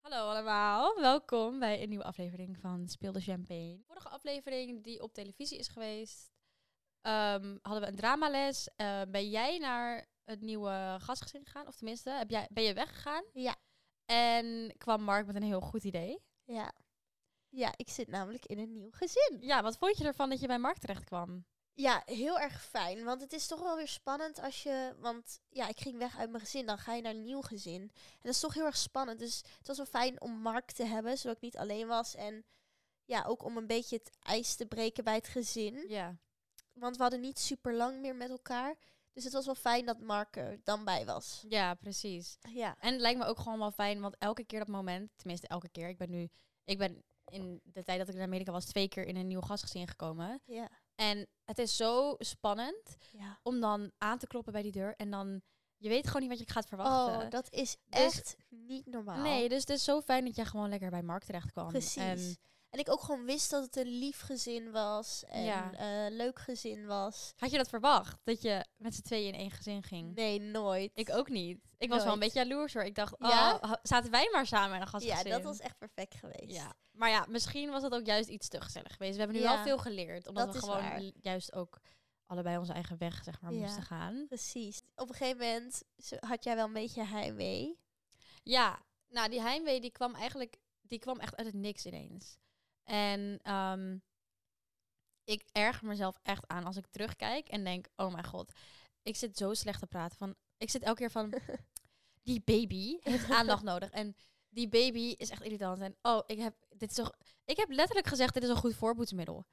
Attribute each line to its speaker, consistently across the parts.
Speaker 1: Hallo allemaal, welkom bij een nieuwe aflevering van Speel de Champagne. Vorige aflevering die op televisie is geweest, ehm, hadden we een dramales. Eh, ben jij naar het nieuwe gastgezin gegaan? Of tenminste, heb jij, ben je weggegaan?
Speaker 2: Ja.
Speaker 1: En kwam Mark met een heel goed idee.
Speaker 2: Ja. Ja, ik zit namelijk in een nieuw gezin.
Speaker 1: Ja, wat vond je ervan dat je bij Mark terecht kwam?
Speaker 2: Ja, heel erg fijn. Want het is toch wel weer spannend als je. Want ja, ik ging weg uit mijn gezin. Dan ga je naar een nieuw gezin. En dat is toch heel erg spannend. Dus het was wel fijn om Mark te hebben, zodat ik niet alleen was. En ja, ook om een beetje het ijs te breken bij het gezin.
Speaker 1: Ja.
Speaker 2: Want we hadden niet super lang meer met elkaar. Dus het was wel fijn dat Mark er dan bij was.
Speaker 1: Ja, precies.
Speaker 2: Ja.
Speaker 1: En het lijkt me ook gewoon wel fijn, want elke keer dat moment, tenminste elke keer, ik ben nu, ik ben in de tijd dat ik in Amerika was, twee keer in een nieuw gastgezin gekomen.
Speaker 2: Ja.
Speaker 1: En het is zo spannend
Speaker 2: ja.
Speaker 1: om dan aan te kloppen bij die deur en dan, je weet gewoon niet wat je gaat verwachten.
Speaker 2: Oh, dat is
Speaker 1: Dus-
Speaker 2: echt niet normaal.
Speaker 1: nee, dus het is zo fijn dat jij gewoon lekker bij Mark terecht kwam.
Speaker 2: Precies.
Speaker 1: En
Speaker 2: En, ik ook gewoon wist dat het een lief gezin was en
Speaker 1: Ja.
Speaker 2: eh, leuk gezin was.
Speaker 1: had je dat verwacht, dat je met z'n tweeën in één gezin ging?
Speaker 2: Nee, nooit.
Speaker 1: Ik ook niet. Ik was wel een
Speaker 2: Nooit.
Speaker 1: beetje jaloers hoor. Ik dacht,
Speaker 2: Ja?
Speaker 1: oh, ha- zaten wij maar samen in een
Speaker 2: Ja,
Speaker 1: gastgezin.
Speaker 2: dat was echt perfect geweest.
Speaker 1: Ja, maar ja, misschien was dat ook juist iets te gezellig geweest. We hebben nu
Speaker 2: Ja,
Speaker 1: wel veel geleerd, omdat
Speaker 2: dat
Speaker 1: we
Speaker 2: is
Speaker 1: gewoon
Speaker 2: waar.
Speaker 1: l- juist ook allebei onze eigen weg zeg maar
Speaker 2: Ja.
Speaker 1: moesten gaan.
Speaker 2: Precies. Op een gegeven moment zo- had jij wel een beetje heimwee.
Speaker 1: Ja, nou die heimwee die kwam eigenlijk, die kwam echt uit het niks ineens. En ehm, ik erger mezelf echt aan als ik terugkijk en denk, oh mijn god, ik zit zo slecht te praten. Van, ik zit elke keer van, die baby heeft aandacht nodig en die baby is echt irritant. En oh, ik heb dit is zo, ik heb letterlijk gezegd, dit is een goed voorboedsmiddel.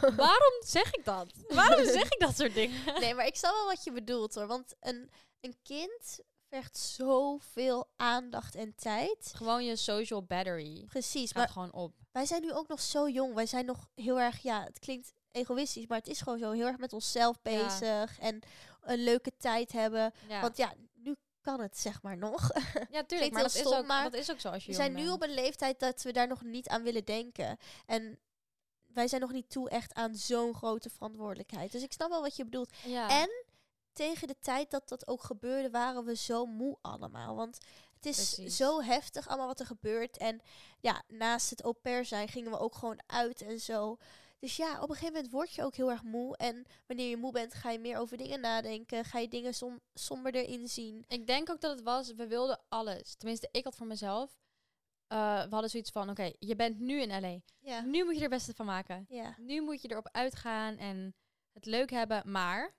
Speaker 1: Waarom zeg ik dat? Waarom zeg ik dat soort dingen?
Speaker 2: nee, maar ik snap wel wat je bedoelt hoor. Want een, een kind vergt zoveel aandacht en tijd.
Speaker 1: Gewoon je social battery
Speaker 2: Precies,
Speaker 1: gaat
Speaker 2: maar
Speaker 1: gewoon op.
Speaker 2: wij zijn nu ook nog zo jong. Wij zijn nog heel erg, ja, het klinkt egoïstisch, maar het is gewoon zo heel erg met onszelf
Speaker 1: Ja.
Speaker 2: bezig en een leuke tijd hebben.
Speaker 1: Ja.
Speaker 2: Want ja, nu kan het zeg maar nog.
Speaker 1: Ja, tuurlijk,
Speaker 2: Klinkt
Speaker 1: maar
Speaker 2: heel
Speaker 1: dat, is
Speaker 2: stom,
Speaker 1: ook,
Speaker 2: maar
Speaker 1: dat is ook zo als je
Speaker 2: We zijn
Speaker 1: jong
Speaker 2: nu op
Speaker 1: bent.
Speaker 2: een leeftijd dat we daar nog niet aan willen denken. En wij zijn nog niet toe echt aan zo'n grote verantwoordelijkheid. Dus ik snap wel wat je bedoelt.
Speaker 1: Ja.
Speaker 2: en- Tegen de tijd dat dat ook gebeurde, waren we zo moe allemaal. Want het is
Speaker 1: Precies.
Speaker 2: zo heftig allemaal wat er gebeurt. En ja, naast het au pair zijn gingen we ook gewoon uit en zo. Dus ja, op een gegeven moment word je ook heel erg moe. En wanneer je moe bent, ga je meer over dingen nadenken. Ga je dingen som somberder inzien.
Speaker 1: Ik denk ook dat het was, we wilden alles. Tenminste, ik had voor mezelf. eh, we hadden zoiets van, oké, je bent nu in LA.
Speaker 2: Ja.
Speaker 1: Nu moet je er het beste van maken.
Speaker 2: Ja.
Speaker 1: Nu moet je erop uitgaan en het leuk hebben. Maar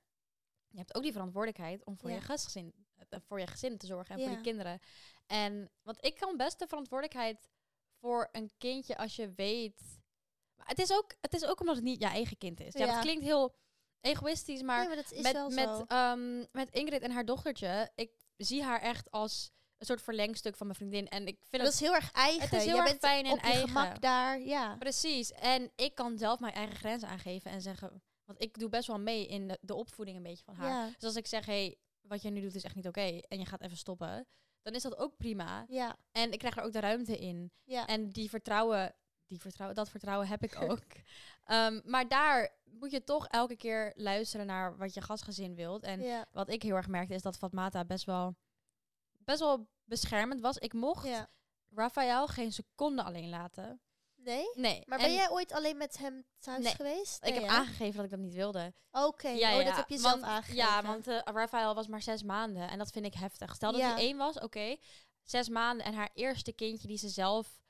Speaker 1: je hebt ook die verantwoordelijkheid om voor,
Speaker 2: Ja.
Speaker 1: je, gastgezin, eh, voor je gezin te zorgen en voor
Speaker 2: Ja.
Speaker 1: je kinderen. En want ik kan best de verantwoordelijkheid voor een kindje als je weet. Maar het is ook, het is ook omdat het niet je eigen kind is. Ja,
Speaker 2: Ja.
Speaker 1: dat klinkt heel egoïstisch, maar
Speaker 2: Nee, maar dat is
Speaker 1: met,
Speaker 2: wel
Speaker 1: met,
Speaker 2: zo.
Speaker 1: ehm, met Ingrid en haar dochtertje, ik zie haar echt als een soort verlengstuk van mijn vriendin. En ik vind
Speaker 2: Dat
Speaker 1: het,
Speaker 2: is heel erg eigen.
Speaker 1: het is heel
Speaker 2: Jij
Speaker 1: erg
Speaker 2: bent
Speaker 1: fijn en
Speaker 2: op je
Speaker 1: eigen.
Speaker 2: gemak daar, ja.
Speaker 1: Precies. En ik kan zelf mijn eigen grenzen aangeven en zeggen... Want ik doe best wel mee in de, de opvoeding een beetje van haar.
Speaker 2: Ja.
Speaker 1: Dus als ik zeg, hé, hey, wat jij nu doet is echt niet oké en je gaat even stoppen... dan is dat ook prima.
Speaker 2: Ja,
Speaker 1: En ik krijg er ook de ruimte in.
Speaker 2: ja.
Speaker 1: En die vertrouwen, die vertrouwen, dat vertrouwen heb ik ook. Ehm, maar daar moet je toch elke keer luisteren naar wat je gastgezin wilt. En
Speaker 2: ja.
Speaker 1: wat ik heel erg merkte is dat Fatmata best wel, best wel beschermend was. Ik mocht
Speaker 2: ja.
Speaker 1: Raphaël geen seconde alleen laten.
Speaker 2: Nee?
Speaker 1: Nee.
Speaker 2: Maar
Speaker 1: en
Speaker 2: ben jij ooit alleen met hem thuis
Speaker 1: Nee,
Speaker 2: geweest?
Speaker 1: Ik
Speaker 2: Nee,
Speaker 1: heb
Speaker 2: hè?
Speaker 1: aangegeven dat ik dat niet wilde.
Speaker 2: Oké, oh, dat heb je zelf
Speaker 1: want-
Speaker 2: aangegeven.
Speaker 1: Ja, want eh, Raphaël was maar zes maanden en dat vind ik heftig. Stel dat
Speaker 2: Ja.
Speaker 1: hij één was, oké, zes maanden en haar eerste kindje die ze zelf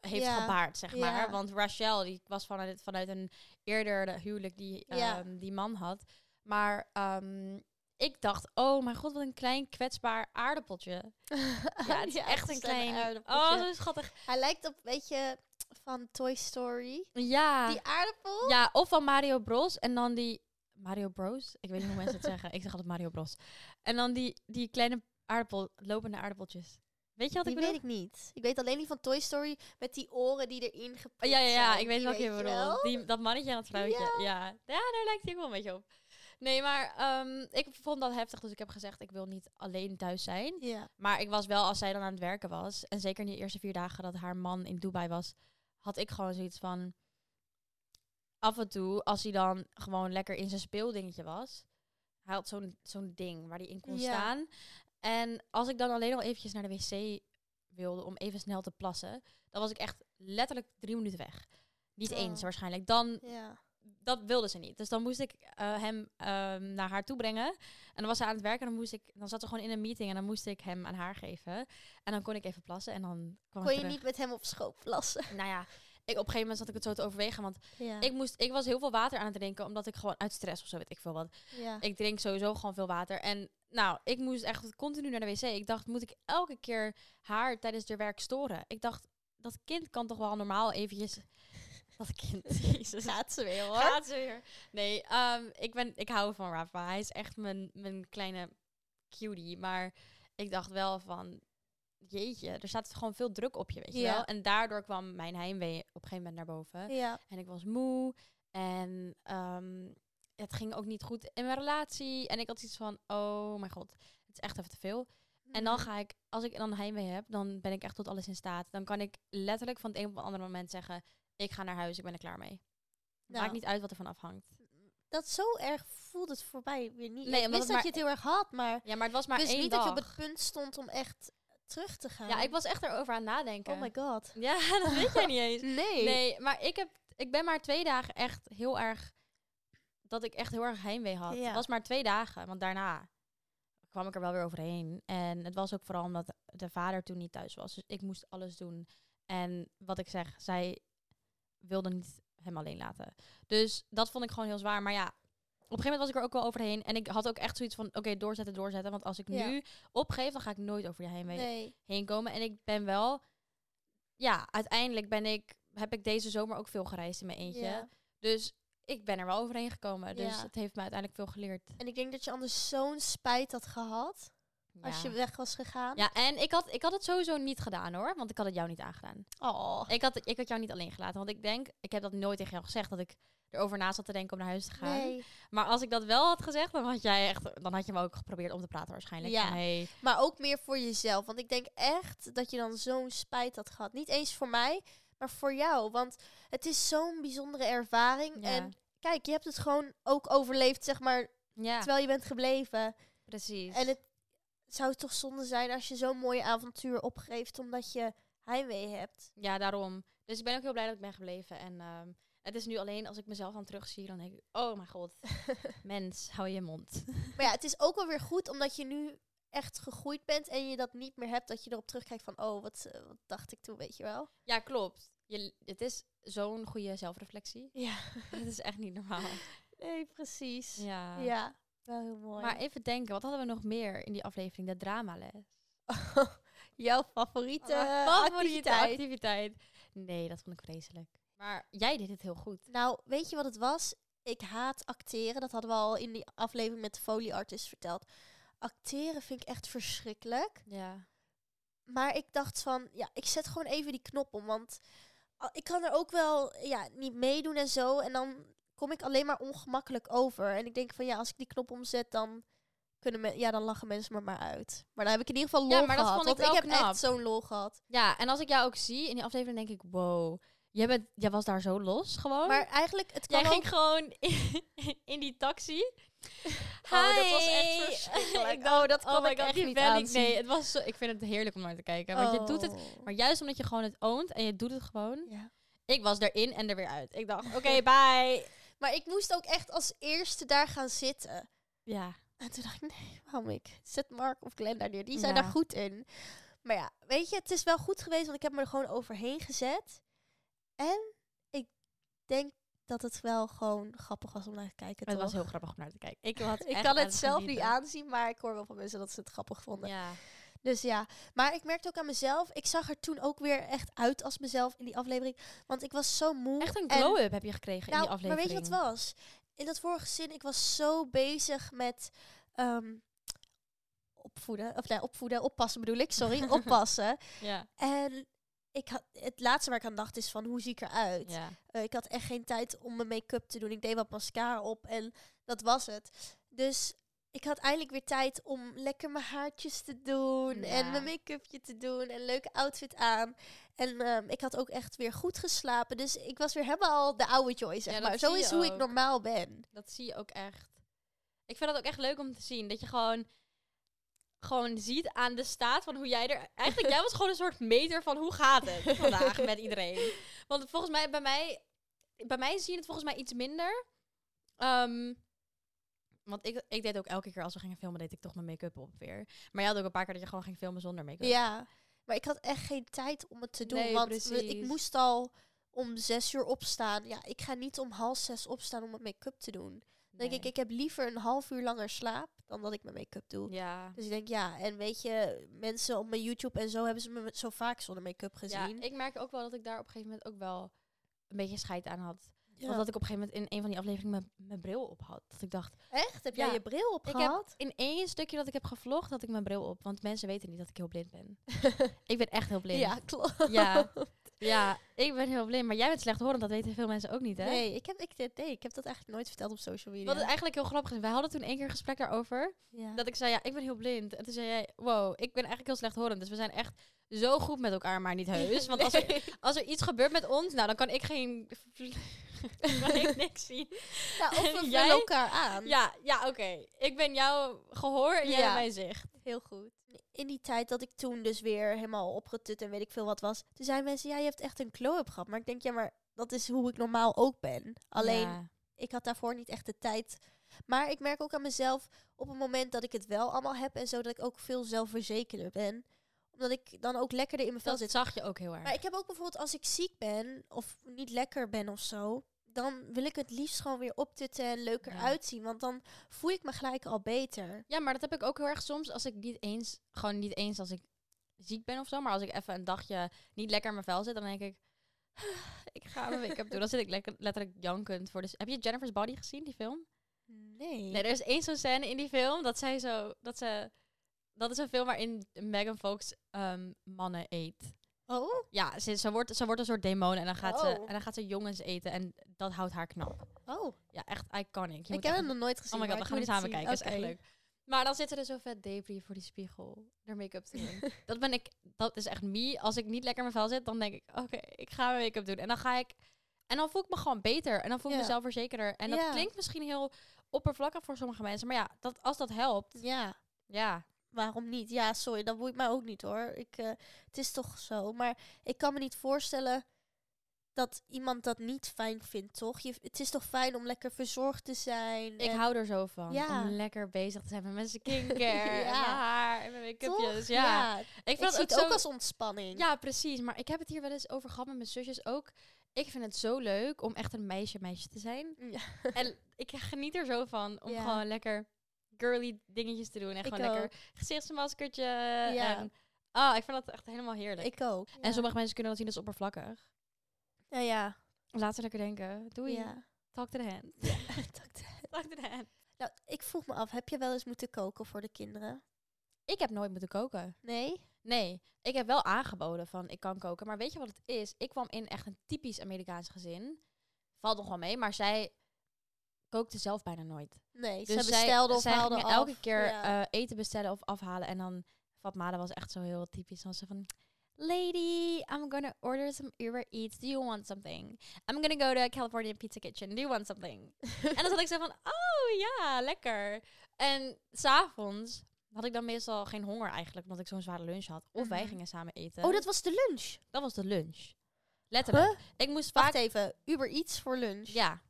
Speaker 1: heeft
Speaker 2: Ja.
Speaker 1: gebaard, zeg
Speaker 2: Ja.
Speaker 1: maar. Want Rachel, die was vanuit, vanuit een eerder huwelijk die
Speaker 2: Ja.
Speaker 1: ehm, die man had. Maar ehm, ik dacht, oh mijn god, wat een klein kwetsbaar aardappeltje. Ja, het is echt een klein...
Speaker 2: aardappeltje.
Speaker 1: Oh, zo schattig.
Speaker 2: Hij lijkt op, weet je, van Toy Story.
Speaker 1: Ja.
Speaker 2: Die aardappel?
Speaker 1: ja, of van Mario Bros. En dan die... Mario Bros? Ik weet niet hoe mensen het zeggen. Ik zeg altijd Mario Bros. En dan die, die kleine aardappel, lopende aardappeltjes. Weet je wat
Speaker 2: die
Speaker 1: ik bedoel?
Speaker 2: weet ik niet. Ik weet alleen die van Toy Story met die oren die erin
Speaker 1: Oh,
Speaker 2: geprikt
Speaker 1: ja, ja, ja,
Speaker 2: zijn.
Speaker 1: ik weet
Speaker 2: Die
Speaker 1: welke je bedoelt.
Speaker 2: wel.
Speaker 1: Die, dat mannetje en dat vrouwtje. Ja. Ja. daar lijkt hij ook wel een beetje op. Nee, maar ehm, ik vond dat heftig, dus ik heb gezegd, ik wil niet alleen thuis zijn.
Speaker 2: Ja,
Speaker 1: Maar ik was wel, als zij dan aan het werken was, en zeker in die eerste vier dagen dat haar man in Dubai was, had ik gewoon zoiets van. Af en toe, als hij dan gewoon lekker in zijn speeldingetje was, hij had zo'n zo'n ding waar hij in kon
Speaker 2: Ja.
Speaker 1: staan. En als ik dan alleen al eventjes naar de wc wilde om even snel te plassen, dan was ik echt letterlijk drie minuten weg. Niet
Speaker 2: Oh.
Speaker 1: eens waarschijnlijk. Dan,
Speaker 2: Ja.
Speaker 1: dat wilde ze niet. Dus dan moest ik eh, hem ehm, naar haar toe brengen. En dan was ze aan het werken en dan, moest ik, dan zat ze gewoon in een meeting en dan moest ik hem aan haar geven. En dan kon ik even plassen en dan kwam
Speaker 2: Kon
Speaker 1: ik
Speaker 2: je
Speaker 1: terug.
Speaker 2: niet met hem op schoot plassen?
Speaker 1: Nou ja, ik, op een gegeven moment zat ik het zo te overwegen, want
Speaker 2: Ja.
Speaker 1: ik, moest, ik was heel veel water aan het drinken, omdat ik gewoon uit stress of zo weet ik veel wat.
Speaker 2: ja.
Speaker 1: Ik drink sowieso gewoon veel water. En nou, ik moest echt continu naar de wc. Ik dacht, moet ik elke keer haar tijdens haar werk storen? Ik dacht, dat kind kan toch wel normaal eventjes... Dat kind, jezus.
Speaker 2: Gaat ze weer hoor.
Speaker 1: Gaat ze weer. Nee, ehm, ik, ben, ik hou van Rafa. Hij is echt mijn, mijn kleine cutie. Maar ik dacht wel van... Jeetje, er staat gewoon veel druk op je, weet je
Speaker 2: Ja.
Speaker 1: wel. En daardoor kwam mijn heimwee op een gegeven moment naar boven.
Speaker 2: Ja.
Speaker 1: En ik was moe. En ehm, het ging ook niet goed in mijn relatie. En ik had iets van, oh mijn god, het is echt even te veel. En
Speaker 2: Mm.
Speaker 1: dan ga ik, als ik dan heimwee heb, dan ben ik echt tot alles in staat. Dan kan ik letterlijk van het een op het andere moment zeggen, ik ga naar huis, ik ben er klaar mee.
Speaker 2: Nou.
Speaker 1: Maakt niet uit wat er van afhangt.
Speaker 2: Dat zo erg voelde het voor mij weer niet.
Speaker 1: Nee,
Speaker 2: ik
Speaker 1: omdat
Speaker 2: wist
Speaker 1: het
Speaker 2: dat
Speaker 1: maar-
Speaker 2: je het heel erg had, maar,
Speaker 1: Ja, maar het was maar
Speaker 2: ik wist
Speaker 1: één
Speaker 2: niet
Speaker 1: dag.
Speaker 2: dat je op het punt stond om echt terug te gaan.
Speaker 1: Ja, ik was echt erover aan het nadenken.
Speaker 2: Oh my god.
Speaker 1: Ja, dat weet jij niet eens.
Speaker 2: Nee.
Speaker 1: Nee, maar ik, heb, ik ben maar twee dagen echt heel erg... Dat ik echt heel erg heimwee had.
Speaker 2: Ja.
Speaker 1: Het was maar twee dagen, want daarna kwam ik er wel weer overheen. En het was ook vooral omdat de vader toen niet thuis was. Dus ik moest alles doen. En wat ik zeg, zij wilde niet hem alleen laten. Dus dat vond ik gewoon heel zwaar. Maar ja, op een gegeven moment was ik er ook wel overheen. En ik had ook echt zoiets van, oké, doorzetten, doorzetten. Want als ik
Speaker 2: Ja.
Speaker 1: nu opgeef, dan ga ik nooit over je heimwee
Speaker 2: Nee.
Speaker 1: heen komen. En ik ben wel, ja, uiteindelijk ben ik, heb ik deze zomer ook veel gereisd in mijn eentje.
Speaker 2: Ja.
Speaker 1: Dus ik ben er wel overheen gekomen. Dus
Speaker 2: Ja.
Speaker 1: het heeft me uiteindelijk veel geleerd.
Speaker 2: En ik denk dat je anders zo'n spijt had gehad
Speaker 1: Ja.
Speaker 2: als je weg was gegaan.
Speaker 1: ja, en ik had, ik had het sowieso niet gedaan hoor, want ik had het jou niet aangedaan.
Speaker 2: Oh.
Speaker 1: Ik had, ik had jou niet alleen gelaten, want ik denk, ik heb dat nooit tegen jou gezegd, dat ik erover na zat te denken om naar huis te gaan.
Speaker 2: Nee.
Speaker 1: Maar als ik dat wel had gezegd, dan had jij echt, dan had je me ook geprobeerd om te praten waarschijnlijk.
Speaker 2: Ja.
Speaker 1: Van, hey,
Speaker 2: Maar ook meer voor jezelf. Want ik denk echt dat je dan zo'n spijt had gehad. Niet eens voor mij, maar voor jou. Want het is zo'n bijzondere ervaring.
Speaker 1: Ja.
Speaker 2: En kijk, je hebt het gewoon ook overleefd, zeg maar,
Speaker 1: ja,
Speaker 2: terwijl je bent gebleven.
Speaker 1: precies.
Speaker 2: En het zou toch zonde zijn als je zo'n mooie avontuur opgeeft omdat je heimwee hebt.
Speaker 1: Ja, daarom. Dus ik ben ook heel blij dat ik ben gebleven. En ehm, het is nu alleen als ik mezelf dan terugzie, dan denk ik, oh mijn god, mens, hou je mond.
Speaker 2: Maar ja, het is ook wel weer goed omdat je nu echt gegroeid bent en je dat niet meer hebt, dat je erop terugkijkt van, oh, wat, eh, wat dacht ik toen, weet je wel?
Speaker 1: Ja, klopt. Je, het is zo'n goede zelfreflectie.
Speaker 2: Ja,
Speaker 1: Het is echt niet normaal.
Speaker 2: nee, precies. Ja,
Speaker 1: Ja.
Speaker 2: wel heel mooi.
Speaker 1: Maar even denken, wat hadden we nog meer in die aflevering? De dramales.
Speaker 2: Jouw favoriete,
Speaker 1: Mijn
Speaker 2: favoriete activiteit?
Speaker 1: activiteit. Nee, dat vond ik vreselijk. Maar jij deed het heel goed.
Speaker 2: Nou, weet je wat het was? Ik haat acteren. Dat hadden we al in die aflevering met de Foley Artist verteld. Acteren vind ik echt verschrikkelijk.
Speaker 1: Ja.
Speaker 2: Maar ik dacht van, ja, ik zet gewoon even die knop om. Want a- ik kan er ook wel ja, niet meedoen en zo. En dan kom ik alleen maar ongemakkelijk over. En ik denk van, ja, als ik die knop omzet, dan, kunnen men, ja, dan lachen mensen me maar uit. Maar dan heb ik in ieder geval lol
Speaker 1: Ja, maar dat
Speaker 2: gehad.
Speaker 1: vond ik
Speaker 2: want ik
Speaker 1: wel
Speaker 2: heb
Speaker 1: knap.
Speaker 2: echt zo'n lol gehad.
Speaker 1: Ja, en als ik jou ook zie in die aflevering, denk ik, wow, jij, bent, jij was daar zo los gewoon.
Speaker 2: Maar eigenlijk, het kwam
Speaker 1: Oh. Jij ging
Speaker 2: ook-
Speaker 1: gewoon in, in die taxi.
Speaker 2: Oh, dat was echt
Speaker 1: Hi.
Speaker 2: verschrikkelijk.
Speaker 1: Ik dacht,
Speaker 2: Oh, dat kon
Speaker 1: my
Speaker 2: ik
Speaker 1: God,
Speaker 2: echt
Speaker 1: die
Speaker 2: niet
Speaker 1: ben ik-
Speaker 2: aanzien.
Speaker 1: Nee, het was zo, ik vind het heerlijk om naar te kijken. Want je doet het...
Speaker 2: Oh.
Speaker 1: Maar juist omdat je gewoon het oont en je doet het gewoon.
Speaker 2: Ja.
Speaker 1: Ik was erin en er weer uit. Ik dacht, oké, bye.
Speaker 2: Maar ik moest ook echt als eerste daar gaan zitten.
Speaker 1: Ja.
Speaker 2: En toen dacht ik, nee, waarom ik? Zet Mark of Glenn daar neer. Die zijn
Speaker 1: Ja.
Speaker 2: daar goed in. Maar ja, weet je, het is wel goed geweest, want ik heb me er gewoon overheen gezet. En ik denk dat het wel gewoon grappig was om naar te kijken.
Speaker 1: Het was
Speaker 2: toch?
Speaker 1: heel grappig om naar te kijken. Ik, had
Speaker 2: ik
Speaker 1: echt
Speaker 2: kan
Speaker 1: aan
Speaker 2: het zelf niet
Speaker 1: genieten.
Speaker 2: aanzien, maar ik hoor wel van mensen dat ze het grappig vonden.
Speaker 1: Ja.
Speaker 2: Dus ja, maar ik merkte ook aan mezelf, ik zag er toen ook weer echt uit als mezelf in die aflevering. Want ik was zo moe.
Speaker 1: Echt een
Speaker 2: en-
Speaker 1: glow-up heb je gekregen in die
Speaker 2: Nou, maar weet
Speaker 1: aflevering.
Speaker 2: je wat het was? In dat vorige zin, ik was zo bezig met ehm, opvoeden, of nee, opvoeden, oppassen bedoel ik, sorry, oppassen.
Speaker 1: Ja.
Speaker 2: En ik had, het laatste waar ik aan dacht is van, hoe zie ik eruit?
Speaker 1: ja.
Speaker 2: Eh, ik had echt geen tijd om mijn make-up te doen. Ik deed wat mascara op en dat was het. Dus ik had eindelijk weer tijd om lekker mijn haartjes te doen en
Speaker 1: Ja.
Speaker 2: mijn make-upje te doen en een leuke outfit aan. En ehm, ik had ook echt weer goed geslapen. Dus ik was weer helemaal de oude Joy, zeg
Speaker 1: Ja, dat
Speaker 2: maar. Zo
Speaker 1: zie je
Speaker 2: is hoe ik
Speaker 1: ook.
Speaker 2: normaal ben.
Speaker 1: Dat zie je ook echt. Ik vind dat ook echt leuk om te zien. Dat je gewoon gewoon ziet aan de staat van hoe jij er... Eigenlijk, jij was gewoon een soort meter van hoe gaat het vandaag met iedereen. Want volgens mij, bij mij, bij mij zie je het volgens mij iets minder. Ehm, want ik, ik deed ook elke keer als we gingen filmen, deed ik toch mijn make-up op weer. Maar jij had ook een paar keer dat je gewoon ging filmen zonder make-up.
Speaker 2: Ja, maar ik had echt geen tijd om het te doen.
Speaker 1: Nee,
Speaker 2: want we- ik
Speaker 1: precies.
Speaker 2: moest al om zes uur opstaan. Ja, ik ga niet om half zes opstaan om mijn make-up te doen. Dan denk
Speaker 1: Nee.
Speaker 2: ik, ik heb liever een half uur langer slaap dan dat ik mijn make-up doe.
Speaker 1: Ja.
Speaker 2: Dus ik denk, ja, en weet je, mensen op mijn YouTube en zo hebben ze me met- zo vaak zonder make-up
Speaker 1: ja,
Speaker 2: gezien.
Speaker 1: ik merk ook wel dat ik daar op een gegeven moment ook wel een beetje scheid aan had.
Speaker 2: Ja.
Speaker 1: Want dat ik op een gegeven moment in een van die afleveringen mijn, mijn bril op had. Dat ik dacht,
Speaker 2: Echt? Heb jij
Speaker 1: Ja.
Speaker 2: je bril op
Speaker 1: ik heb
Speaker 2: gehad?
Speaker 1: in één stukje dat ik heb gevlogd, had ik mijn bril op. Want mensen weten niet dat ik heel blind ben. ik ben echt heel blind.
Speaker 2: Ja, klopt.
Speaker 1: ja. Ja, ik ben heel blind. Maar jij bent slechthorend, dat weten veel mensen ook niet, hè?
Speaker 2: Nee, ik heb, ik, nee, ik heb dat eigenlijk nooit verteld op social media.
Speaker 1: Wat het eigenlijk heel grappig is, wij hadden toen één keer een gesprek daarover.
Speaker 2: ja.
Speaker 1: Dat ik zei, ja, ik ben heel blind. En toen zei jij, wow, ik ben eigenlijk heel slechthorend. Dus we zijn echt zo goed met elkaar, maar niet heus. Want als er, als er iets gebeurt met ons, nou, dan kan ik geen... kan ik niks zien.
Speaker 2: Ja, Nou, of we vullen
Speaker 1: Jij?
Speaker 2: elkaar aan.
Speaker 1: Ja, ja oké. Ik ben jouw gehoor en jij
Speaker 2: Ja.
Speaker 1: mijn zicht.
Speaker 2: Heel goed. In die tijd dat ik toen dus weer helemaal opgetut en weet ik veel wat was, toen zeiden mensen, ja, je hebt echt een glow-up gehad. Maar ik denk, ja, maar dat is hoe ik normaal ook ben. Alleen, ik had daarvoor niet echt de tijd. Maar ik merk ook aan mezelf, op het moment dat ik het wel allemaal heb en zo, dat ik ook veel zelfverzekerder ben. Omdat ik dan ook lekkerder in mijn vel
Speaker 1: dat
Speaker 2: zit.
Speaker 1: zag je ook heel erg.
Speaker 2: Maar ik heb ook bijvoorbeeld, als ik ziek ben of niet lekker ben of zo, dan wil ik het liefst gewoon weer optutten en leuker
Speaker 1: Ja.
Speaker 2: uitzien. Want dan voel ik me gelijk al beter.
Speaker 1: Ja, maar dat heb ik ook heel erg soms als ik niet eens, gewoon niet eens als ik ziek ben of zo, maar als ik even een dagje niet lekker in mijn vel zit, dan denk ik, ik ga mijn make-up doen. Dan zit ik lekker, letterlijk jankend voor. Dus heb je Jennifer's Body gezien, die film?
Speaker 2: Nee.
Speaker 1: Nee, er is één zo'n scène in die film dat zij zo, dat ze, dat is een film waarin Megan Fox ehm, mannen eet.
Speaker 2: Oh?
Speaker 1: Ja, ze, ze, wordt, ze wordt een soort demon en dan, gaat ze,
Speaker 2: Oh.
Speaker 1: en dan gaat ze jongens eten en dat houdt haar knap.
Speaker 2: Oh.
Speaker 1: Ja, echt iconic. Je
Speaker 2: ik
Speaker 1: moet
Speaker 2: heb
Speaker 1: echt-
Speaker 2: hem nog nooit gezien.
Speaker 1: Oh my god,
Speaker 2: maar
Speaker 1: dan
Speaker 2: ik
Speaker 1: gaan we
Speaker 2: moet
Speaker 1: samen
Speaker 2: het
Speaker 1: kijken.
Speaker 2: zien.
Speaker 1: is echt
Speaker 2: Oké.
Speaker 1: leuk. Maar dan zitten er zo vet debris voor die spiegel. Haar make-up te doen. dat ben ik. Dat is echt me. Als ik niet lekker in mijn vel zit, dan denk ik, oké, ik ga mijn make-up doen. En dan ga ik. En dan voel ik me gewoon beter. En dan voel ik
Speaker 2: Ja.
Speaker 1: mezelf verzekerder. En dat
Speaker 2: Ja.
Speaker 1: klinkt misschien heel oppervlakkig voor sommige mensen. Maar ja, dat, als dat helpt.
Speaker 2: Ja,
Speaker 1: Ja.
Speaker 2: waarom niet? Ja, sorry, dat boeit mij ook niet hoor. Ik, eh, het is toch zo. Maar ik kan me niet voorstellen dat iemand dat niet fijn vindt, toch? Je, het is toch fijn om lekker verzorgd te zijn?
Speaker 1: Ik
Speaker 2: en-
Speaker 1: hou er zo van.
Speaker 2: Ja.
Speaker 1: Om lekker bezig te zijn met mijn skincare.
Speaker 2: Ja.
Speaker 1: En mijn haar. En mijn make-upjes.
Speaker 2: toch?
Speaker 1: Ja. Ik
Speaker 2: Ik, zie
Speaker 1: vind dat
Speaker 2: het
Speaker 1: ook zo...
Speaker 2: ook als ontspanning.
Speaker 1: Ja, precies. Maar ik heb het hier wel eens over gehad met mijn zusjes ook. Ik vind het zo leuk om echt een meisje-meisje te zijn.
Speaker 2: Ja.
Speaker 1: En ik geniet er zo van om
Speaker 2: Ja.
Speaker 1: gewoon lekker girly dingetjes te doen. En
Speaker 2: Ik
Speaker 1: gewoon lekker gezichtsmaskertje.
Speaker 2: Ja.
Speaker 1: En, ah, ik vind dat echt helemaal heerlijk.
Speaker 2: Ik ook.
Speaker 1: En sommige mensen kunnen dat zien als oppervlakkig.
Speaker 2: Nou ja.
Speaker 1: Laat ze lekker denken. Doei.
Speaker 2: ja.
Speaker 1: Talk to the hand. Talk to the hand.
Speaker 2: nou, ik vroeg me af, heb je wel eens moeten koken voor de kinderen?
Speaker 1: Ik heb nooit moeten koken.
Speaker 2: Nee?
Speaker 1: Nee, ik heb wel aangeboden van ik kan koken. Maar weet je wat het is? Ik kwam in echt een typisch Amerikaans gezin. Valt nog wel mee, maar zij kookte zelf bijna nooit.
Speaker 2: Nee,
Speaker 1: Dus
Speaker 2: ze
Speaker 1: zij-
Speaker 2: bestelden of
Speaker 1: zij
Speaker 2: haalden
Speaker 1: gingen
Speaker 2: af.
Speaker 1: elke keer
Speaker 2: Ja.
Speaker 1: eh, eten bestellen of afhalen. En dan, Fatmada was echt zo heel typisch. Dan was ze van, lady, I'm gonna order some Uber Eats. Do you want something? I'm gonna go to California Pizza Kitchen. Do you want something? en dan zat ik zo van, oh ja, lekker. En s'avonds had ik dan meestal geen honger eigenlijk, omdat ik zo'n zware lunch had. Of wij
Speaker 2: Mhm.
Speaker 1: gingen samen eten.
Speaker 2: Oh, dat was de lunch.
Speaker 1: Dat was de lunch. Letterlijk.
Speaker 2: Huh?
Speaker 1: Ik moest vaak...
Speaker 2: Wacht even, Uber iets voor lunch.
Speaker 1: Ja.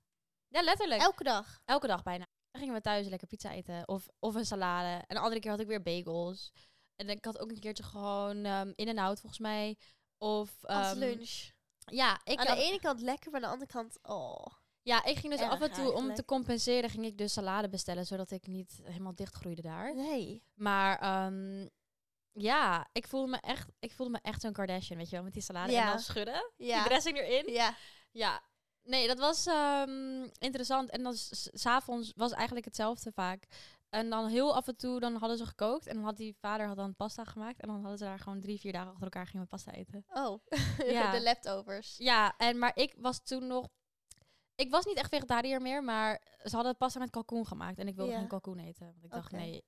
Speaker 1: Ja, letterlijk.
Speaker 2: Elke dag.
Speaker 1: Elke dag bijna. Dan gingen we thuis lekker pizza eten of, of een salade. En de andere keer had ik weer bagels. En ik had ook een keertje gewoon ehm, in en out volgens mij. Of,
Speaker 2: Als
Speaker 1: ehm,
Speaker 2: lunch.
Speaker 1: Ja ik,
Speaker 2: aan de
Speaker 1: had-
Speaker 2: ene kant lekker, maar aan de andere kant... Oh.
Speaker 1: ja, ik ging dus
Speaker 2: erg
Speaker 1: af en toe om te
Speaker 2: eigenlijk.
Speaker 1: compenseren, ging ik dus salade bestellen, zodat ik niet helemaal dichtgroeide daar.
Speaker 2: Nee.
Speaker 1: Maar ehm, ja, ik voelde me echt, ik voelde me echt zo'n Kardashian, weet je wel, met die salade en
Speaker 2: Ja.
Speaker 1: dan schudden. Die
Speaker 2: Ja.
Speaker 1: dressing erin.
Speaker 2: Ja.
Speaker 1: Ja, nee, dat was ehm, interessant. En dan s- s- s'avonds was eigenlijk hetzelfde vaak. En dan heel af en toe, dan hadden ze gekookt. En dan had die vader had dan pasta gemaakt. En dan hadden ze daar gewoon drie, vier dagen achter elkaar gingen we pasta eten.
Speaker 2: Oh.
Speaker 1: Ja.
Speaker 2: de leftovers.
Speaker 1: Ja, en, maar ik was toen nog... Ik was niet echt vegetariër meer, maar ze hadden pasta met kalkoen gemaakt. En ik wilde
Speaker 2: Ja.
Speaker 1: geen kalkoen eten. Want ik dacht,
Speaker 2: Oké.
Speaker 1: nee,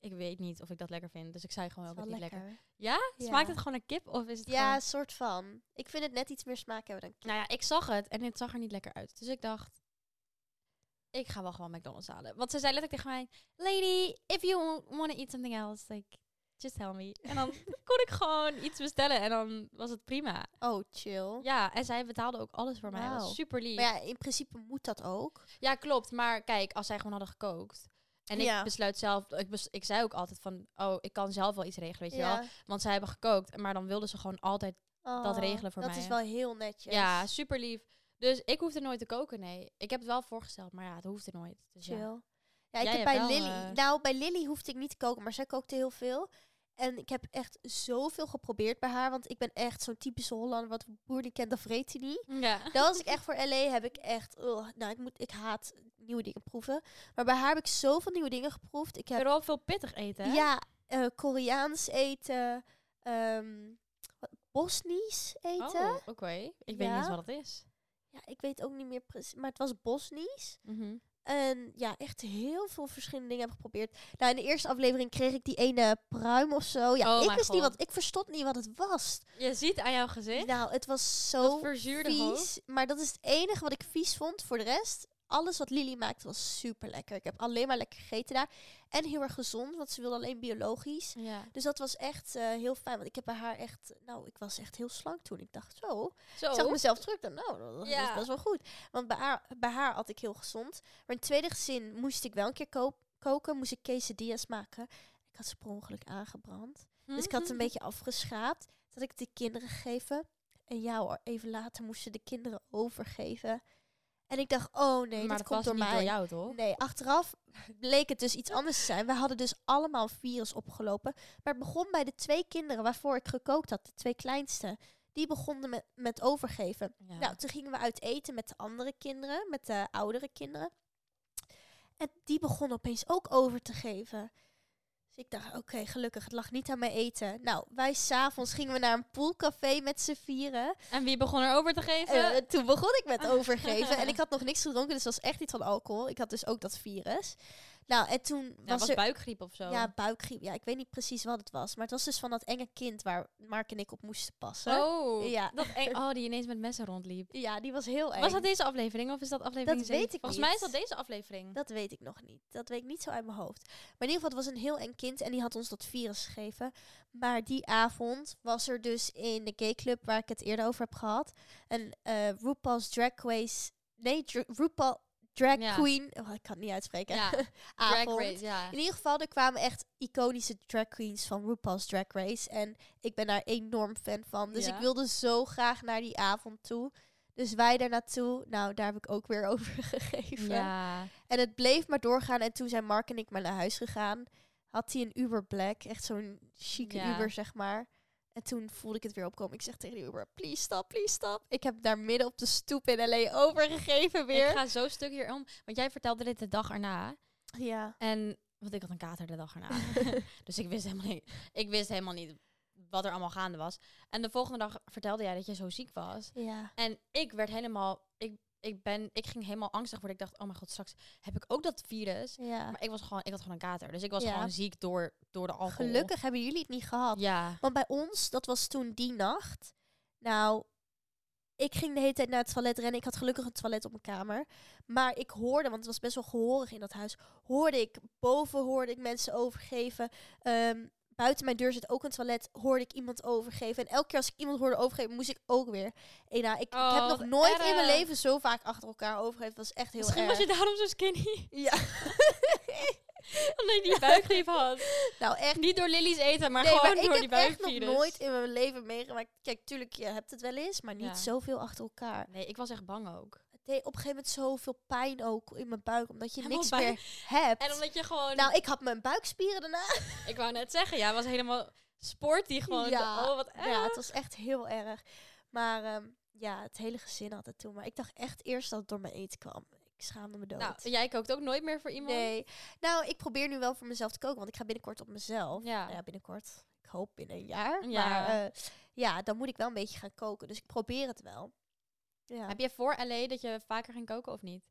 Speaker 1: ik weet niet of ik dat lekker vind. Dus ik zei gewoon
Speaker 2: Dat
Speaker 1: ook,
Speaker 2: is
Speaker 1: het
Speaker 2: wel
Speaker 1: is niet lekker.
Speaker 2: Ja.
Speaker 1: Smaakt het gewoon een kip of is het
Speaker 2: Ja,
Speaker 1: gewoon...
Speaker 2: een soort van. Ik vind het net iets meer smaak hebben dan kip.
Speaker 1: Nou ja, ik zag het en het zag er niet lekker uit. Dus ik dacht, ik ga wel gewoon McDonald's halen. Want ze zei letterlijk tegen mij, lady, if you want to eat something else, like, just tell me. En dan kon ik gewoon iets bestellen en dan was het prima.
Speaker 2: Oh, chill.
Speaker 1: Ja, en zij betaalde ook alles voor mij. Dat
Speaker 2: Wauw.
Speaker 1: was super lief.
Speaker 2: Maar ja, in principe moet dat ook.
Speaker 1: Ja, klopt. Maar kijk, als zij gewoon hadden gekookt. En ik
Speaker 2: Ja.
Speaker 1: besluit zelf, ik, bes- ik zei ook altijd van, oh, ik kan zelf wel iets regelen, weet je wel.
Speaker 2: Ja.
Speaker 1: Want zij hebben gekookt, maar dan wilden ze gewoon altijd,
Speaker 2: Oh,
Speaker 1: regelen voor
Speaker 2: Dat
Speaker 1: mij.
Speaker 2: is wel heel netjes.
Speaker 1: ja, super lief. Dus ik hoefde nooit te koken, nee. Ik heb het wel voorgesteld, maar ja, het hoefde nooit. Dus
Speaker 2: chill.
Speaker 1: ja.
Speaker 2: Ja, ik
Speaker 1: Jij
Speaker 2: heb
Speaker 1: hebt
Speaker 2: bij
Speaker 1: wel,
Speaker 2: Lily...
Speaker 1: eh,
Speaker 2: Nou, bij Lily hoefde ik niet te koken, maar zij kookte heel veel. En ik heb echt zoveel geprobeerd bij haar, want ik ben echt zo'n typische Hollander, wat boer die kent, dat vreet hij niet.
Speaker 1: ja.
Speaker 2: Dat was ik echt voor LA, heb ik echt... ugh, nou, ik, moet, ik haat nieuwe dingen proeven. Maar bij haar heb ik zoveel nieuwe dingen geproefd. Ik heb
Speaker 1: Vooral veel pittig eten, hè?
Speaker 2: Ja, eh, Koreaans eten, ehm, wat- Bosnisch eten.
Speaker 1: Oh, oké. Ik weet niet eens
Speaker 2: Ja.
Speaker 1: wat het is.
Speaker 2: Ja, ik weet ook niet meer precies, maar het was Bosnisch. En ja, echt heel veel verschillende dingen heb ik geprobeerd. Nou, in de eerste aflevering kreeg ik die ene pruim of zo. Ja,
Speaker 1: Oh
Speaker 2: ik
Speaker 1: mijn
Speaker 2: wist niet
Speaker 1: God.
Speaker 2: wat, ik verstond niet wat het was.
Speaker 1: Je ziet aan jouw gezicht
Speaker 2: Nou, het was
Speaker 1: dat
Speaker 2: zo
Speaker 1: verzuurde hoofd.
Speaker 2: vies. Maar dat is het enige wat ik vies vond. Voor de rest, alles wat Lily maakte was super lekker. Ik heb alleen maar lekker gegeten daar. En heel erg gezond, want ze wilde alleen biologisch.
Speaker 1: Ja.
Speaker 2: Dus dat was echt eh, heel fijn. Want ik heb bij haar echt. Nou, ik was echt heel slank toen. Ik dacht zo.
Speaker 1: Zo.
Speaker 2: Ik zag mezelf terug. Dan, nou, dat was
Speaker 1: Oh. Ja.
Speaker 2: best wel goed. Want bij haar, bij haar had ik heel gezond. Maar in het tweede gezin moest ik wel een keer koop- koken. Moest ik quesadillas maken. Ik had ze per ongeluk aangebrand.
Speaker 1: Hm?
Speaker 2: Dus ik had
Speaker 1: Mhm.
Speaker 2: het een beetje afgeschraapt. Dat ik het de kinderen gegeven. En ja hoor, even later moesten de kinderen overgeven. En ik dacht, oh nee,
Speaker 1: maar
Speaker 2: dat
Speaker 1: dat was
Speaker 2: komt door
Speaker 1: niet
Speaker 2: mij.
Speaker 1: door jou, toch?
Speaker 2: Nee, achteraf bleek het dus iets anders te zijn. We hadden dus allemaal een virus opgelopen. Maar het begon bij de twee kinderen waarvoor ik gekookt had, de twee kleinste. Die begonnen met, met overgeven.
Speaker 1: Ja.
Speaker 2: Nou, toen gingen we uit eten met de andere kinderen, met de oudere kinderen. En die begonnen opeens ook over te geven. Dus ik dacht, oké, gelukkig, het lag niet aan mijn eten. Nou, wij s'avonds gingen we naar een poolcafé met z'n vieren.
Speaker 1: En wie begon er over te geven?
Speaker 2: Eh, toen begon ik met overgeven. en ik had nog niks gedronken, dus het was echt niet van alcohol. Ik had dus ook dat virus. Nou, en toen
Speaker 1: Ja,
Speaker 2: was,
Speaker 1: was
Speaker 2: er...
Speaker 1: buikgriep of zo.
Speaker 2: Ja, buikgriep. Ja, ik weet niet precies wat het was. Maar het was dus van dat enge kind waar Mark en ik op moesten passen.
Speaker 1: Oh,
Speaker 2: Ja.
Speaker 1: dat eng. Oh, die ineens met messen rondliep.
Speaker 2: Ja, die was heel eng.
Speaker 1: Was dat deze aflevering of is dat aflevering
Speaker 2: Dat
Speaker 1: zeven?
Speaker 2: weet ik
Speaker 1: Volgens
Speaker 2: niet.
Speaker 1: mij is dat deze aflevering.
Speaker 2: Dat weet ik nog niet. Dat weet ik niet zo uit mijn hoofd. Maar in ieder geval, het was een heel eng kind en die had ons dat virus gegeven. Maar die avond was er dus in de gayclub waar ik het eerder over heb gehad. Een eh RuPaul's Drag Race... Nee, Dr- RuPaul Drag
Speaker 1: Ja.
Speaker 2: Queen... Oh, ik kan het niet uitspreken.
Speaker 1: ja,
Speaker 2: avond.
Speaker 1: Drag Race, ja.
Speaker 2: In ieder geval, er kwamen echt iconische drag queens van RuPaul's Drag Race. En ik ben daar enorm fan van. Dus
Speaker 1: Ja.
Speaker 2: ik wilde zo graag naar die avond toe. Dus wij daar naartoe. Nou, daar heb ik ook weer over gegeven.
Speaker 1: Ja.
Speaker 2: En het bleef maar doorgaan. En toen zijn Mark en ik maar naar huis gegaan. Had hij een Uber Black. Echt zo'n chique
Speaker 1: Ja.
Speaker 2: Uber, zeg maar. En toen voelde ik het weer opkomen. Ik zeg tegen die Uber, please stop, please stop. Ik heb daar midden op de stoep in L.A. overgegeven weer.
Speaker 1: Ik ga zo stuk hier om, want jij vertelde dit de dag erna.
Speaker 2: Ja.
Speaker 1: En, want ik had een kater de dag erna. dus ik wist, helemaal niet, ik wist helemaal niet wat er allemaal gaande was. En de volgende dag vertelde jij dat je zo ziek was.
Speaker 2: Ja.
Speaker 1: En ik werd helemaal, ik, ik, ben, ik ging helemaal angstig worden. Ik dacht, oh mijn god, straks heb ik ook dat virus.
Speaker 2: ja.
Speaker 1: Maar ik, was gewoon, ik had gewoon een kater. Dus ik was
Speaker 2: Ja.
Speaker 1: gewoon ziek door, door de alcohol.
Speaker 2: Gelukkig hebben jullie het niet gehad.
Speaker 1: Ja.
Speaker 2: Want bij ons, dat was toen die nacht. Nou, ik ging de hele tijd naar het toilet rennen. Ik had gelukkig een toilet op mijn kamer. Maar ik hoorde, want het was best wel gehorig in dat huis. Hoorde ik, boven hoorde ik mensen overgeven. Ehm, buiten mijn deur zit ook een toilet. Hoorde ik iemand overgeven. En elke keer als ik iemand hoorde overgeven, moest ik ook weer. En nou, ik,
Speaker 1: Oh,
Speaker 2: ik heb nog
Speaker 1: wat
Speaker 2: nooit in mijn
Speaker 1: erg.
Speaker 2: leven zo vaak achter elkaar overgegeven. Dat was echt heel
Speaker 1: Misschien
Speaker 2: erg.
Speaker 1: was je daarom zo skinny.
Speaker 2: Ja.
Speaker 1: Omdat je die buikgriep had.
Speaker 2: nou, echt.
Speaker 1: Niet door Lily's eten, maar
Speaker 2: Nee,
Speaker 1: gewoon
Speaker 2: maar
Speaker 1: door
Speaker 2: ik
Speaker 1: die
Speaker 2: heb echt nog
Speaker 1: buikvirus.
Speaker 2: nooit in mijn leven meegemaakt. Kijk, tuurlijk, je hebt het wel eens, maar niet
Speaker 1: Ja.
Speaker 2: zoveel achter elkaar.
Speaker 1: Nee, ik was echt bang ook.
Speaker 2: Het deed op een gegeven moment zoveel pijn ook in mijn buik, omdat je
Speaker 1: Helemaal
Speaker 2: niks
Speaker 1: buik-
Speaker 2: meer hebt.
Speaker 1: En omdat je gewoon...
Speaker 2: Nou, ik had mijn buikspieren daarna.
Speaker 1: ik wou net zeggen, jij was helemaal sporty gewoon.
Speaker 2: Ja.
Speaker 1: Oh, wat erg.
Speaker 2: Ja, het was echt heel erg. Maar ehm, ja, het hele gezin had het toen. Maar ik dacht echt eerst dat het door mijn eten kwam. Ik schaamde me dood.
Speaker 1: nou, jij kookt ook nooit meer voor iemand?
Speaker 2: nee. Nou, ik probeer nu wel voor mezelf te koken, want ik ga binnenkort op mezelf.
Speaker 1: Ja.
Speaker 2: Nou ja, binnenkort. Ik hoop binnen een jaar.
Speaker 1: Ja.
Speaker 2: Maar eh, ja, dan moet ik wel een beetje gaan koken. Dus ik probeer het wel. Ja.
Speaker 1: Heb je voor LA dat je vaker ging koken of niet?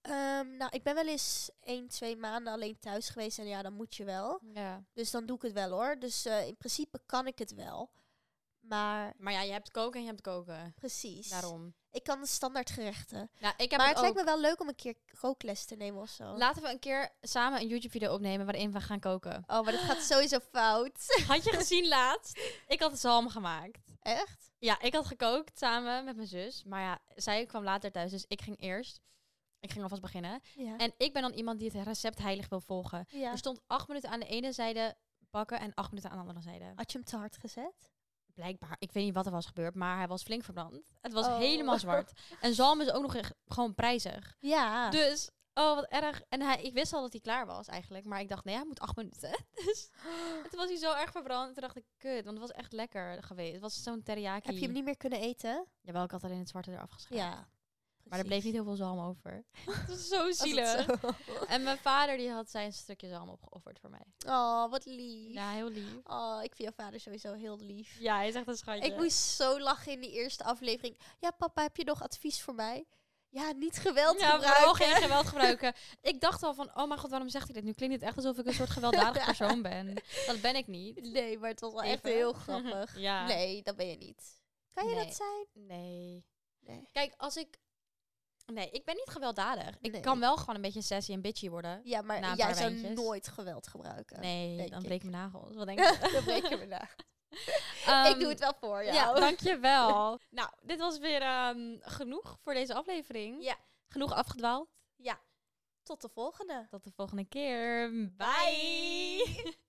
Speaker 2: Ehm, nou, ik ben wel eens één, twee maanden alleen thuis geweest. En ja, dan moet je wel.
Speaker 1: Ja.
Speaker 2: Dus dan doe ik het wel hoor. Dus eh, in principe kan ik het wel. Maar
Speaker 1: Maar ja, je hebt koken en je hebt koken.
Speaker 2: precies.
Speaker 1: Daarom.
Speaker 2: Ik kan de standaard gerechten.
Speaker 1: Nou, ik heb
Speaker 2: maar
Speaker 1: het
Speaker 2: het
Speaker 1: ook.
Speaker 2: lijkt me wel leuk om een keer kookles te nemen of zo.
Speaker 1: Laten we een keer samen een YouTube-video opnemen waarin we gaan koken.
Speaker 2: oh, maar dat gaat sowieso fout.
Speaker 1: Had je gezien laatst? Ik had zalm gemaakt.
Speaker 2: Echt?
Speaker 1: Ja, ik had gekookt samen met mijn zus. Maar ja, zij kwam later thuis, dus ik ging eerst. Ik ging alvast beginnen.
Speaker 2: Ja.
Speaker 1: En ik ben dan iemand die het recept heilig wil volgen.
Speaker 2: ja.
Speaker 1: Er stond acht minuten aan de ene zijde bakken en acht minuten aan de andere zijde.
Speaker 2: Had je hem te hard gezet?
Speaker 1: Blijkbaar, ik weet niet wat er was gebeurd, maar hij was flink verbrand. Het was
Speaker 2: Oh.
Speaker 1: helemaal zwart. En zalm is ook nog echt gewoon prijzig.
Speaker 2: Ja.
Speaker 1: Dus, oh wat erg. En hij, ik wist al dat hij klaar was eigenlijk, maar ik dacht, nee, hij moet acht minuten. Dus en toen was hij zo erg verbrand. En toen dacht ik, kut, want het was echt lekker geweest. Het was zo'n teriyaki.
Speaker 2: Heb je hem niet meer kunnen eten?
Speaker 1: Jawel, ik had alleen het zwarte eraf geschreven. Maar er
Speaker 2: Precies.
Speaker 1: bleef niet heel veel zalm over. Het was zo
Speaker 2: Was het
Speaker 1: zielig.
Speaker 2: zo?
Speaker 1: En mijn vader die had zijn stukje zalm opgeofferd voor mij.
Speaker 2: Oh, wat lief.
Speaker 1: Ja, heel lief.
Speaker 2: Oh, ik vind jouw vader sowieso heel lief.
Speaker 1: Ja, hij is echt een schatje.
Speaker 2: Ik moest zo lachen in die eerste aflevering. Ja, papa, heb je nog advies voor mij? Ja, niet geweld
Speaker 1: ja, vooral
Speaker 2: gebruiken.
Speaker 1: geen geweld gebruiken. ik dacht al van, oh mijn god, waarom zegt hij dit? Nu klinkt het echt alsof ik een soort gewelddadig persoon ben. Dat ben ik niet.
Speaker 2: Nee, maar het was wel echt
Speaker 1: Even.
Speaker 2: heel grappig.
Speaker 1: ja.
Speaker 2: Nee, dat ben je niet. Kan je
Speaker 1: Nee.
Speaker 2: dat zijn?
Speaker 1: Nee.
Speaker 2: Nee.
Speaker 1: Kijk, als ik... Nee, ik ben niet gewelddadig. Ik
Speaker 2: Nee.
Speaker 1: kan wel gewoon een beetje sassy en bitchy worden.
Speaker 2: Ja,
Speaker 1: Na
Speaker 2: maar
Speaker 1: een
Speaker 2: jij
Speaker 1: paar
Speaker 2: zou
Speaker 1: wijntjes.
Speaker 2: nooit geweld gebruiken.
Speaker 1: Nee,
Speaker 2: denk
Speaker 1: dan
Speaker 2: ik.
Speaker 1: breek ik mijn nagels. Wat denk je?
Speaker 2: dat breek je me na.
Speaker 1: Ehm,
Speaker 2: ik doe het wel voor jou.
Speaker 1: Ja, dankjewel. nou, dit was weer ehm, genoeg voor deze aflevering.
Speaker 2: Ja.
Speaker 1: Genoeg afgedwaald.
Speaker 2: Tot de volgende.
Speaker 1: Tot de volgende keer. Bye.